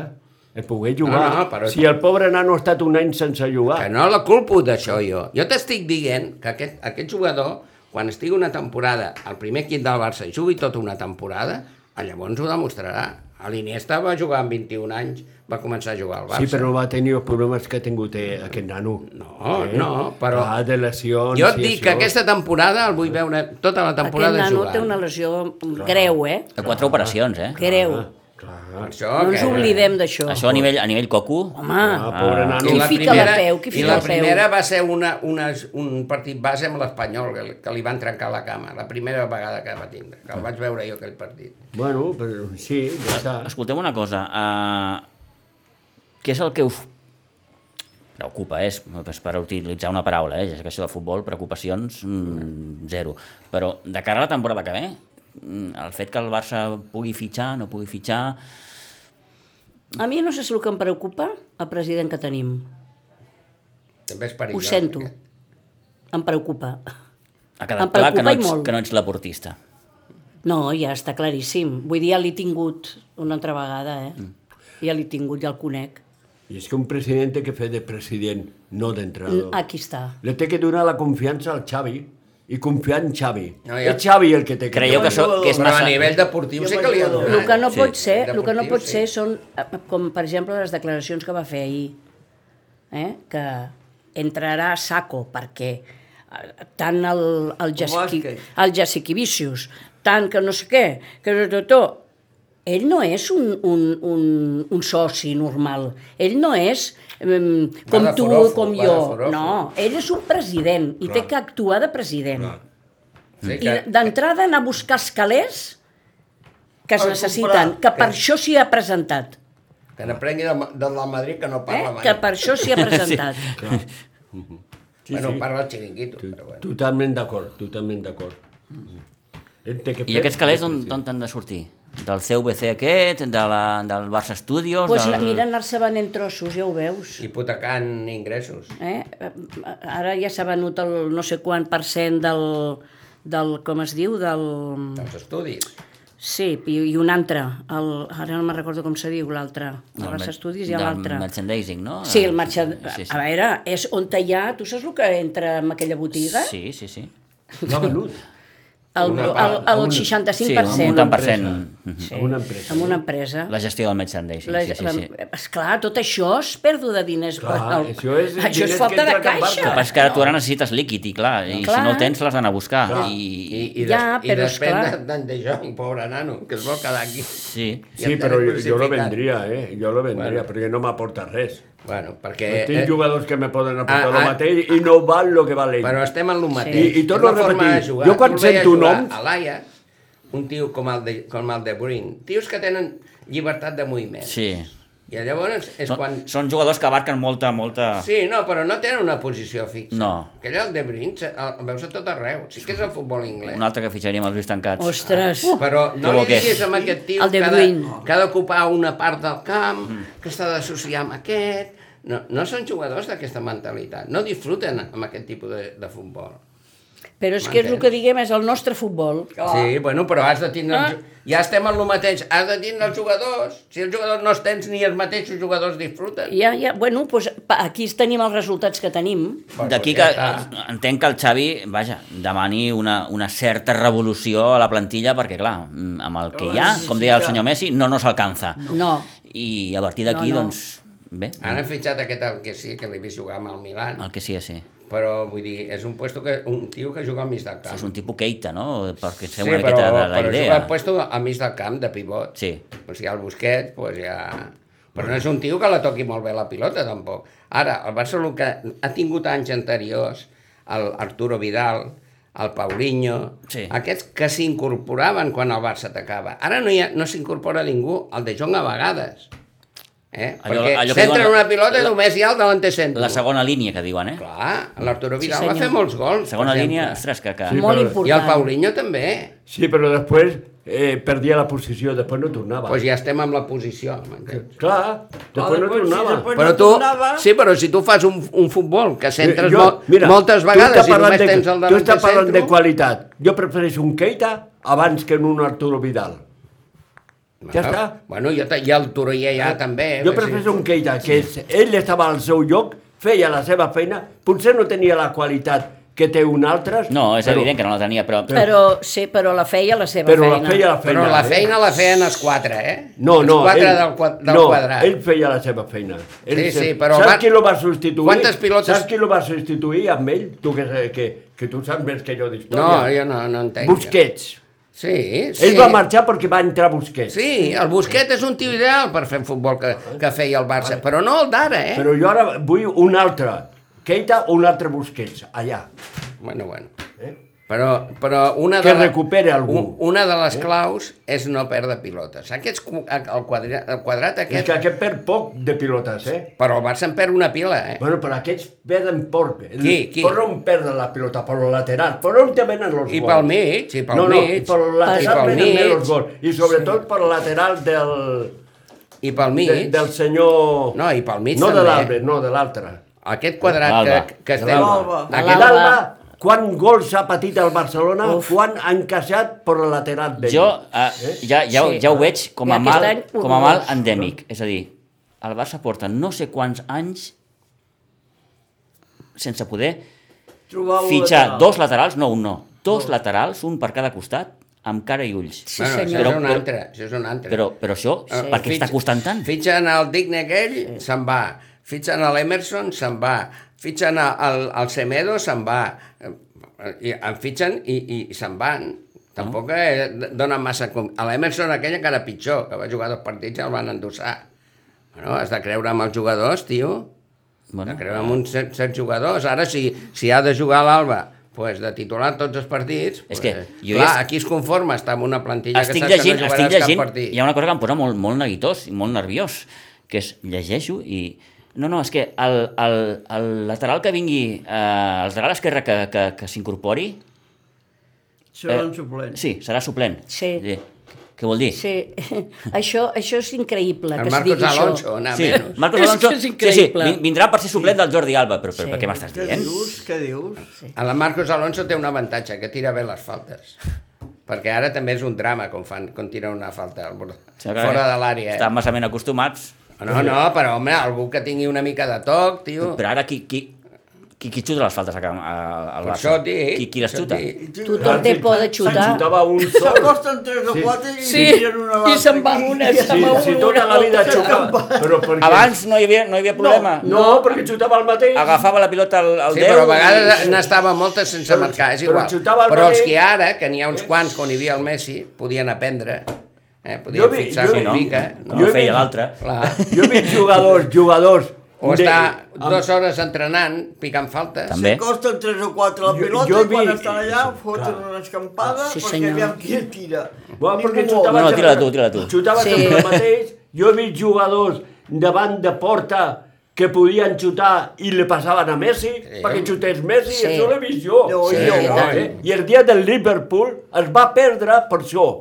el poder jugar.
No, no, però-
Si el pobre nano ha estat un any sense jugar.
Que no la culpo d'això jo. Jo t'estic dient que aquest, aquest jugador, quan estigui una temporada al primer equip del Barça i jugui tota una temporada, ah, llavors ho demostrarà. A l'Iniesta va jugar amb 21 anys, va començar a jugar al Barça.
Sí, però no va tenir els problemes que ha tingut eh, aquest nano.
No, no, però-
Ah, de lesions...
Jo et
i
dic
això.
que aquesta temporada el vull veure tota la
Aquest
temporada eh?
nano
jugant.
té una lesió greu, eh?
De quatre operacions, eh?
Greu.
Per Això,
No ens
que-
oblidem d'això.
Això a nivell, a nivell coco...
Home,
Ah, pobre
Ah,
nano.
I
Qui
la
fica la
primera,
peu? Qui
I
fica
la
la peu?
primera va ser una, una, un partit base amb l'Espanyol, que, que li van trencar la cama, la primera vegada que va tindre, que el vaig veure jo aquell partit.
Bueno, però sí, ja està.
Escolteu una cosa, uh, què és el que us preocupa, eh? és, és per utilitzar una paraula, eh? ja sé que això de futbol, preocupacions, mm, zero. Però de cara a la temporada que ve, mm, el fet que el Barça pugui fitxar, no pugui fitxar...
a mi no sé si el que em preocupa el president que tenim.
També és perillós. eh?
Ho sento.
aquest.
Em preocupa.
Ha
Em
quedat clar que no,
preocupa i
ets,
molt.
que no ets l'aportista.
No, ja està claríssim. Vull dir, ja l'he tingut una altra vegada, eh?
Mm.
Ja l'he tingut, ja el conec.
I és que un president té que fer de president, no d'entrenador.
Aquí està.
Le té que donar la confiança al Xavi i confiar en Xavi.
No,
No,
ja-
ja. És Xavi el que té que...
Creieu que, so, que és
Però a
massa...
nivell deportiu sí que li han donat.
El que no
Sí.
pot ser, el que no
Deportiu,
pot
sí.
ser són, eh, com per exemple les declaracions que va fer ahir, eh? que entrarà a saco, perquè eh, tant el, el, Jasiqui,
bàsquet.
el Jasiqui Vicius, tant que no sé què, que tot, tot, tot. Ell no és un, un, un, un soci normal. Ell no és um, com tu,
Guardaforofo,
com jo.
guardaforofo.
No, ell és un president i té que actuar de president.
Sí,
I d'entrada anar a buscar els calés que es
Per
necessiten,
comprar.
que per això s'hi ha presentat.
que n'aprengui del, del, del Madrid que no
Eh?
parla mai.
Que per això s'hi ha presentat.
Sí,
bueno,
sí.
parla el xiringuito, però bueno.
Totalment d'acord, totalment d'acord. Ell té que
I
fer-
aquests calés d'on d'on t'han de sortir? Del CVC aquest, de la, del Barça Studios...
Doncs pues la-
del...
mira anar-se venent trossos, ja ho veus.
Hipotecant ingressos.
Eh? Ara ja s'ha venut el no sé quant per cent del, del com es diu, del...
dels estudis.
Sí, i, i un altre. El, ara no me'n recordo com se diu l'altre. De les
mer-
estudis hi ha
del
l'altre.
merchandising, no?
Ah, Sí, el marxant...
Sí,
A
sí.
veure, és on hi ha... Tu saps el que entra en aquella botiga?
Sí, sí, sí.
L'ha venut.
El,
Una
el,
part,
el
una.
65%.
Sí, amb un tant per cent. Mhm.
Sí,
Amb una empresa,
Amb
no?
una empresa.
La gestió del merchandising,
La,
sí, sí,
la-
sí.
Esclar, tot això és pèrdua de diners.
Clar,
el-
això és
això és
diners que
falta de
entren en barca.
El que
caixa.
passa és que ara tu ara necessites líquid, i clar, i
Clar.
si no el tens l'has d'anar a buscar.
Clar.
I,
I,
Ja,
i, des, i
però
depèn
esclar.
de- d'en De Jong, pobre nano, que es vol quedar aquí.
sí.
I
Sí,
el
però
tenen
jo, jo lo
crucificat.
vendria, eh? Jo lo vendria,
Bueno.
perquè no m'aporta res.
Bueno, perquè...
Eh, Tinc jugadors que me poden
ah,
aportar ah, el
ah,
mateix i no val el que val ell.
Però estem en lo mateix.
I- i torno
És la
a
forma
repetir,
de jugar.
jo quan
Tu el veies
sento
jugar
noms-
A l'Aia, un tio com el, de, com el de Bruin, tios que tenen llibertat de moviment.
sí.
I llavors és
Són,
quan...
són jugadors que abarquen molta, molta...
Sí, no, però no tenen una posició fixa.
Ah. No.
Que allà el de Bruin se- el, el veus a tot arreu. Sí que és el futbol anglès.
Un altre que fitxaríem els ulls tancats.
Ostres,
Ah,
Però no
Trobo
li
que-
diguis amb aquest tio
El De
que ha
Bruyne.
que ha d'ocupar una part del camp, que s'ha d'associar amb aquest... No, no són jugadors d'aquesta mentalitat. No disfruten amb aquest tipus de, de futbol.
però és que és el que diguem és el nostre futbol.
Ah.
Sí, bueno, però has de tindre...
Ah.
Ah. Ja estem en lo mateix, has de tindre els jugadors. Si els jugadors no els tens, ni els mateixos jugadors disfruten.
Ja, ja, bueno, doncs, pa- aquí tenim els resultats que tenim.
D'aquí que
Bueno, ja està.
entenc que el Xavi, vaja, demani una, una certa revolució a la plantilla, perquè clar, mm, amb el que hi ha, com deia el senyor Messi, no nos alcanza.
No.
I a partir d'aquí,
No, no.
doncs, bé,
Han fitxat aquest el que sí, que l'he vist jugar amb el Milan,
el que sí, sí.
però vull dir, és un puesto que un tio que juga al mig del camp.
És un tipus Keita, no? Perquè
Sí,
fem una
però,
miqueta de la
però juga
idea.
al puesto al mig del camp, de pivot.
Sí.
O sigui, el Busquets, doncs ja... Però no és un tio que la toqui molt bé la pilota, tampoc. Ara, el Barcelona que ha tingut anys anteriors, el Arturo Vidal, el Paulinho,
Sí.
aquests que s'incorporaven quan el Barça atacava. Ara no, hi ha- no s'incorpora ningú, el de Jong a vegades. Eh?
Allò-
Perquè
allò que
centra
diuen-
una pilota i
la-
només hi ha el davanter centre.
La segona línia que diuen, eh?
Clar, l'Arturo Vidal va
senyor.
fer molts gols.
Segona
per
línia,
exemple.
ostres, que... que...
Sí,
Molt
I
però-
el
important.
Paulinho també.
Sí, però després eh, perdia la posició, després no tornava.
Doncs pues ja estem amb la posició, m'entens?
Clar, després no
després, sí,
tornava.
després-
Però
no
tu,
tornava.
sí, però si tu fas un, un futbol que centres
Eh, Jo-
jo, mira, moltes
tu
vegades
estàs
i només
parlant de-
tens el
Tu estàs
davanter
parlant de
centre...
qualitat. Jo prefereixo un Keita abans que un Arturo Vidal. Ja està.
Bueno, jo, te- ja el Torellà ja també. eh,
Jo
que sí.
prefereixo un Keita, que és, ell estava al seu lloc, feia la seva feina, potser no tenia la qualitat que té un altre...
No, és però... evident que no la tenia, però... eh,
Però, sí, però la feia la seva
Però la
feina.
feia la feina.
Però la
eh?
feina la feien els quatre, eh?
No, no,
Els quatre del, qua- del
no,
quadrat.
ell feia la seva feina. Ell
Sí,
se-
sí, però
Saps
va-
qui lo va substituir?
Quantes pilotes-
Saps qui lo va substituir amb ell? Tu que, que, que tu saps més que jo
No,
d'història.
jo no, no entenc.
Busquets.
Sí, sí.
Ell va marxar perquè va entrar Busquets.
Sí, el Busquet és un tio ideal per fer futbol que, que feia el Barça, però no el d'ara, eh?
Però jo ara vull un altre. Keita o un altre Busquets, allà.
Bueno, bueno.
Eh?
Però, però una de
Que
la-
recupere algú. Eh?
u- Una de les claus és no perdre pilotes. Aquests, cu- el, quadrat, el quadrat
És
aquest...
que aquest perd poc de pilotes, eh?
Però el Barça en perd una pila, eh?
Bueno, però aquests perden poc.
Qui, qui?
Per on perden la pilota? Per el lateral. Per on te venen els
I
gols?
pel mig, i pel
no, no, i
mig.
per el
i
lateral
pel
venen més els
mig,
gols. I sobretot per el lateral del,
i pel mig.
de, del senyor...
No, i pel mig
No de
també. eh?
l'Albert, no, de l'altre.
Aquest quadrat que,
L'Alba.
que
De
estem...
l'Alba.
De
Aquest,
l'Alba.
L'Alba, quan gols ha patit el Barcelona, quan han encaixat per el lateral d'ell.
Jo eh, ja, ja,
Sí.
sí. ja ho veig com a,
I aquest
mal,
any, un
com a mal
dos.
endèmic. És a dir, el Barça porta no sé quants anys sense poder
Trobar un
fitxar
lateral.
dos laterals, no un no, dos laterals, un per cada costat, amb cara i ulls.
Sí,
bueno, això
senyor.
és un
Però-
altre, això és un altre.
Però, però això,
Eh,
per què està
fitxa-
costant tant?
Fitxen el digne aquell, se'n va. Fitxen a l'Emerson, se'n va. Fitxen a- al, al Semedo, se'n va. Eh, I, en fitxen i, i, i se'n van. Tampoc eh, donen massa... Com... A l'Emerson aquell encara pitjor, que va jugar dos partits i el van endossar. Bueno, has de creure amb els jugadors, tio. Bueno, de creure amb uns set, set jugadors. Ara, si, si ha de jugar l'Alba, pues, de titular tots els partits...
És
Pues,
que jo
clar,
és-
aquí es conforma estar amb una plantilla
estic
que saps
llegint,
que no
estic
jugaràs
llegint,
cap partit.
hi ha una cosa que em posa molt, molt neguitós i molt nerviós, que és llegeixo i... No, no, és que el, el, el lateral que vingui, eh, el lateral esquerre que, que, que s'incorpori,
Serà
Eh,
un suplent.
sí, serà suplent.
Sí.
Dir, Què vol dir?
Sí, això, això és increïble,
El
que es
Marcos
digui
Alonso,
això.
anar
Sí,
menys.
Marcos
És que
Alonso,
és
sí, sí,
increïble.
vin- vindrà per ser suplent del Jordi Alba, però, però
Sí.
per què m'estàs
Què
dient?
dius? Què dius?
El Marcos Alonso té un avantatge, que tira bé les faltes. Perquè ara també és un drama com, fan, com tira una falta al bord, fora de l'àrea.
Estan
Eh?
massa ben acostumats,
No, no, però home, algú que tingui una mica de toc, tio.
però ara qui, qui, qui, qui xuta les faltes a, a, al
Per
Barça?
això et dic,
qui, qui les
això et
xuta?
dic.
Ah,
Tothom té por de xutar.
Se'n xutava un sol.
S'acosten tres o quatre i
Sí,
tiren una
i se'n va
aquí.
una, se'n
Si,
va
si
una,
tota la vida xutava. Però perquè...
Abans no hi havia, no hi havia problema.
No, perquè xutava el mateix.
agafava la pilota al, al
Sí,
10
però a
i-
vegades n'estava moltes sense
Però-
marcar, és
però
igual.
xutava el
Però els
Madrid.
que ara, que n'hi ha uns quants quan hi havia el Messi, podien aprendre, eh?
Jo
podien
vi-
fixar
jo-
una
no,
mica. eh?
no,
No?
Jo he
feia
vist-
l'altre.
Clar.
Jo he vist jugadors, jugadors...
O
de-
estar
amb-
dues hores entrenant, picant faltes.
També.
Costen tres o quatre la
Eh? Jo-
pilota
jo
i quan
vi-
estan allà
sí,
foten
clar.
una escampada
Sí,
perquè
senyor.
aviam qui tira.
Bueno, perquè
Ningú
xutava
vol.
No, no,
sempre-
tira-la tu, tira-la tu.
Xutava
Sí.
sempre el mateix. Jo he vist jugadors davant de porta que podien xutar i le passaven a Messi
Sí.
perquè xutés Messi,
Sí.
això l'he vist jo.
Jo, Sí,
jo.
eh? I el dia del Liverpool es va perdre per això.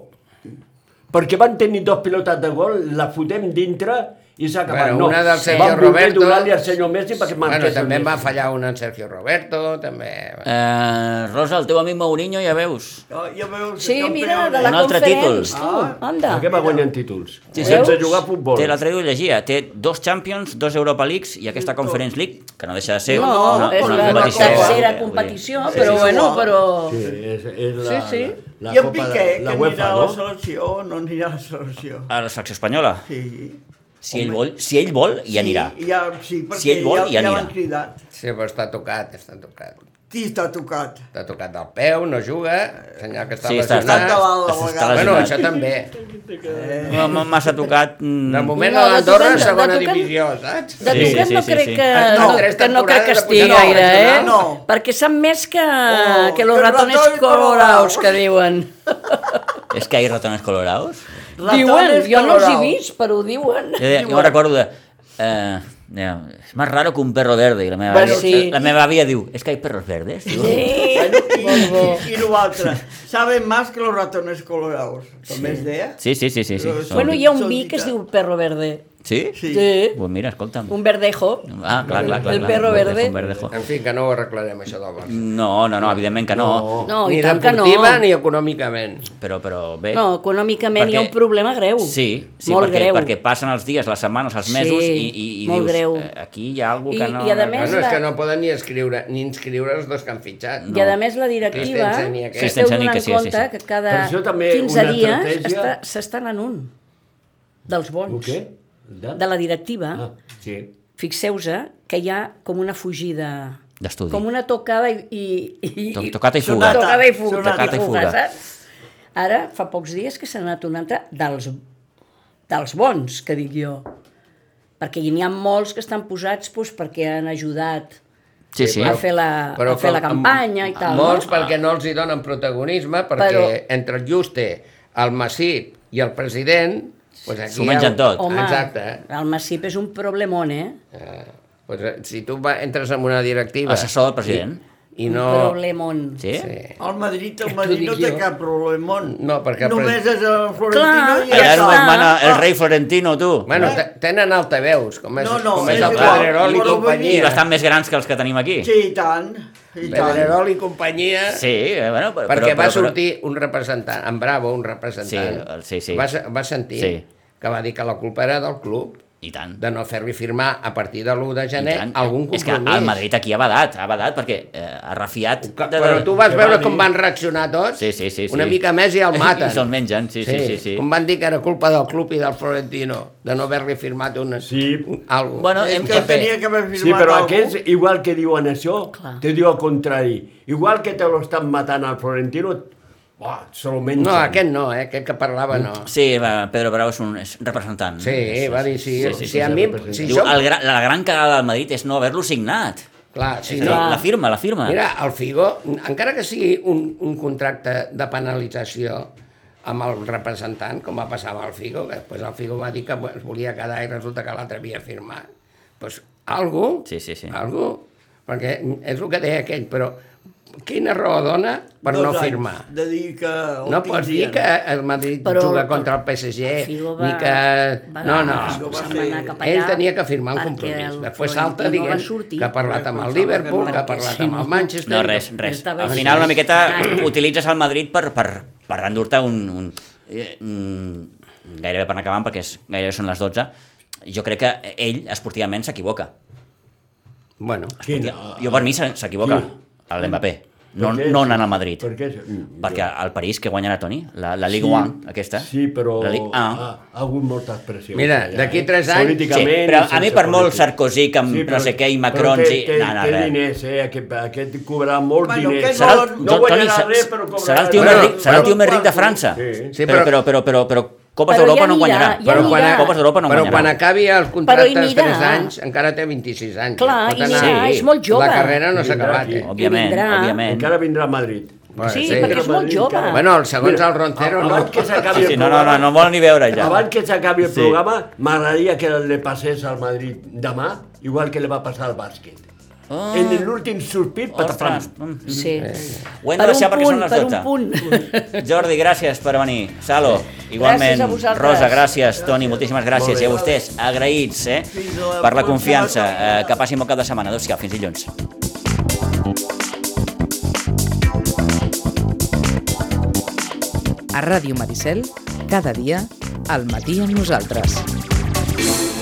Perquè van tenir dos pilotes de gol, la fotem dintre i s'ha acabat.
Bueno,
no.
una del Sergio
van voler
Roberto.
donar-li al senyor Messi perquè marqués
Bueno, també
el
va
Messi.
fallar un en Sergio Roberto, també...
Eh, Rosa, el teu amic Mourinho, ja veus.
Ja, ja veus,
Sí,
campió.
mira, de la
Un altre
conferència.
títol.
tu, Anda.
Perquè va guanyant títols.
Sí, sí.
sense
Veus?
jugar a futbol.
Té l'altre dia ho llegia, té dos Champions, dos Europa Leagues i aquesta Conference League, que Eh, no deixa de ser
No,
una,
és
una
la, la
competició. eh?
tercera
vull dir.
competició,
Sí,
però
sí,
bueno,
sí.
però...
Sí, és, és la,
Oh. Sí, sí.
La, la
I en
Copa de-
Piqué, que
la
anirà
UEFA,
a la
no?
selecció o no anirà a la selecció?
A la selecció espanyola.
Sí.
Si ell vol, si ell vol hi anirà.
Sí, ja, sí perquè
Si ell vol,
ja,
hi anirà.
l'han cridat.
Sí, però està tocat, està tocat.
Qui està tocat?
Està tocat del peu, no juga, senyal que està
Sí, està, està,
lesionat.
Està
està,
lesionat.
està
Bueno,
lesionat.
això també.
Mm. No, m- M'ha tocat... mm,
De moment
No,
a
de
l'Andorra
tocat- de
segona
tocat-
divisió, saps?
De
Sí,
tocat
sí,
no
sí,
crec
sí.
que,
Ah,
no,
no, tres
que no crec que
temporades de
estigui
pujar, no,
gaire,
de
eh?
pujar,
no.
Perquè sap més que,
Oh,
que los
que
ratones
ratones
colorados,
colorados.
que diuen.
És que hi ha ratones colorados?
Diuen,
Ratones
jo no els he
colorados.
vist, però ho diuen.
Jo, deia- jo recordo de... Eh, deia, és més raro que un perro verde. I la meva,
Bueno,
àvia,
sí.
la meva àvia diu, és que hi ha perros verdes? Diu.
Bueno, i, i, i l'altre. Saben más que los ratones colorados. També es deia?
Sí, sí, sí, sí. sí.
Però
són-
Bueno, hi ha un
Són
vi que es
dita.
diu Perro Verde.
Sí?
Sí.
Sí.
Pues mira, escolta'm.
Un verdejo.
Ah, clar, clar, clar.
El
clar,
perro
un verdejo,
verde.
un verdejo.
En fi, que no ho arreglarem, això del Barça.
No, no, no, evidentment que no.
No, i
ni
tant que no.
deportiva ni econòmicament.
Però, però bé.
No, econòmicament hi
Eh.
ha
Perquè-
un problema greu.
Sí, sí
molt
perquè,
greu.
perquè passen els dies, les setmanes, els mesos
Sí,
i, i, i
molt
dius,
greu.
"Eh, aquí hi ha algú que
I-
no...
i a
No,
més-
no, és
la-
que no poden ni escriure ni inscriure els dos que han fitxat.
I a més la directiva
eh,
Christensen i aquest.
s'esteu
Christensen i
donant
que sí, sí,
compte
sí.
que cada
Per això també
15
una
dies
estratègia-
està- s'estan en un dels
Un
bons.
què?
De la directiva,
Ah, sí.
fixeu-se que hi ha com una fugida...
D'estudi.
Com una tocada i... i, i
To- tocata i fuga.
Una tocada i fuga.
Sonata.
Tocada i fuga,
Tocata i fuga.
saps? Ara, fa pocs dies que s'ha anat un altre dels, dels bons, que dic jo. Perquè n'hi ha molts que estan posats doncs, perquè han ajudat
Sí, sí.
a fer la, a fer la
com-
campanya i
amb-
tal.
Molts
no?
perquè no els hi donen protagonisme, perquè
Però-
entre el Juste, el Massip i el president... Pues aquí
S'ho mengen
hi ha-
tot.
Home,
Exacte.
el Massip és un problemón, eh?
Eh, pues, eh, si tu va, entres en una directiva...
Assessor del president.
I, i no...
No. Problemón.
Sí? sí.
Sí.
El Madrid, el
T'ho
Madrid no
dic
té
jo.
cap problema.
No, perquè el
Només
pres-
és el Florentino
Clar,
i
Ja
Allà
ja
és
està. Oh.
on
està. Ah,
mana el rei Florentino, tu.
Bueno, te- tenen altaveus, com és,
No, no,
com és,
és
el
igual,
Pedrerol i
però
I
venia.
companyia.
bastant més grans que els que tenim aquí.
Sí, i tant. I tant.
Pedrerol i companyia...
Sí, eh, bueno, però,
perquè
però,
va
però,
sortir un representant, en Bravo, un representant,
Sí, el- sí, sí.
Va, se- va sentir
Sí.
que va dir que la culpa era del club
I tant.
de no fer-li firmar a partir de l'1 de
I
gener
tant.
algun
És que
compromís.
el Madrid aquí ha badat, ha badat perquè eh, ha refiat...
Que- Però tu vas
Que
veure
va
com
dir-
van reaccionar tots?
Sí, sí, sí, sí.
Una mica més i el maten.
I se'l mengen, sí, sí, sí. sí.
Com van dir que era culpa del club i del Florentino de no haver-li firmat una,
Sí.
un, Eh, algo.
Bueno,
És
hem
que
de fer-
tenia que haver firmat
Sí, però
algú.
aquests, igual que diuen això,
Clar.
te diu el contrari. Igual que te lo estan matant al Florentino, buah, se lo mengen.
No, aquest no, eh? aquest que parlava no.
Sí, va, Pedro Bravo és un és representant.
Sí, va dir, sí, si a
sí,
mi...
sí,
Si
Diu,
jo,
el, gra- la gran cagada del Madrid és no haver-lo signat.
clar, si
Sí,
no,
La firma, la firma.
Mira, el Figo, encara que sigui un, un contracte de penalització amb el representant, com va passar amb el Figo, que després el Figo va dir que es volia quedar i resulta que l'altre havia firmat. Doncs pues, algú,
Sí, sí, sí.
algú, perquè és el que deia aquell, però quina raó dona per
Dos
no
anys
firmar?
De dir que el
No pots dir
tindrien.
que el Madrid
Però-
juga contra el PSG,
El Figo va-
ni que...
va-
no, no,
Figo va
se'n
fer-
anar cap
ell
allà
tenia que firmar un
perquè
compromís.
el
Després salta
Florentino
dient
va sortir.
que ha parlat amb el
Pensava que
Liverpool,
no.
que ha parlat
Perquè si
amb
no-
el Manchester...
No, res, res.
Estava
Al
així.
final una miqueta
Ah,
Ai.
utilitzes el Madrid per, per, per endur-te un, un, eh, mm, gairebé per anar acabant, perquè és, gairebé són les 12. Jo crec que ell, esportivament, s'equivoca.
Bueno,
Quin,
Jo, per mi, se- s'equivoca.
Sí.
a L'Mbappé. No,
Per què?
no anant al Madrid.
Per què? Mm,
Perquè el París, que guanyarà Toni, la, la Ligue
Sí.
1, aquesta.
Sí, però Ah.
La ah. Ligue 1.
ha, ha hagut moltes pressions.
Mira, d'aquí tres anys-
Sí,
Políticament...
però
i
a mi
sense
per molt
política.
Sarkozy, que sí, no sé què, i Macron...
Però té,
sí,
té,
no, no,
té
res.
diners, eh? Aquest, aquest cobrarà molt
Bueno,
diners.
aquest
Serà el,
No
no Toni,
guanyarà res, però
serà,
cobrarà
serà el tio
res.
més
Bueno,
ric, serà el
però-
tio més ric de França.
Sí.
Sí,
però, però,
però-
però, però, però Copes
Però
d'Europa
ja
no en
anirà,
guanyarà.
ja
però quan,
anirà.
Copes d'Europa no en
però quan
guanyarà.
acabi el
Però hi
contracte de
anirà.
3 anys, encara té 26 anys.
Clar,
Pot
hi
anar-
anirà, és molt jove.
La carrera no s'ha
Vindrà
acabat,
aquí.
eh?
Òbviament,
vindrà.
òbviament.
Encara vindrà a Madrid.
Bueno,
Sí, perquè és molt jove.
Bueno, el segons el Roncero, no.
Abans que s'acabi
Sí, sí,
el
no, no, no,
programa-
no vol ni veure ja.
Abans que s'acabi el
Sí.
programa, m'agradaria que le passés al Madrid demà, igual que li va passar al bàsquet.
Ah.
En l'últim sospir, patafram.
Ostres, mm.
Sí.
eh.
Ho hem de deixar perquè són les
Per
12.
un punt, per un punt.
Jordi, gràcies per venir. Salo, igualment.
Gràcies a vosaltres.
Rosa, gràcies. Toni, moltíssimes gràcies. I a vostès, agraïts eh,
Fins la
per la
pròxima
confiança. Eh,
setmana.
que passin bon cap de setmana. Adéu-siau, fins dilluns.
A Ràdio Maricel, cada dia, al matí amb nosaltres.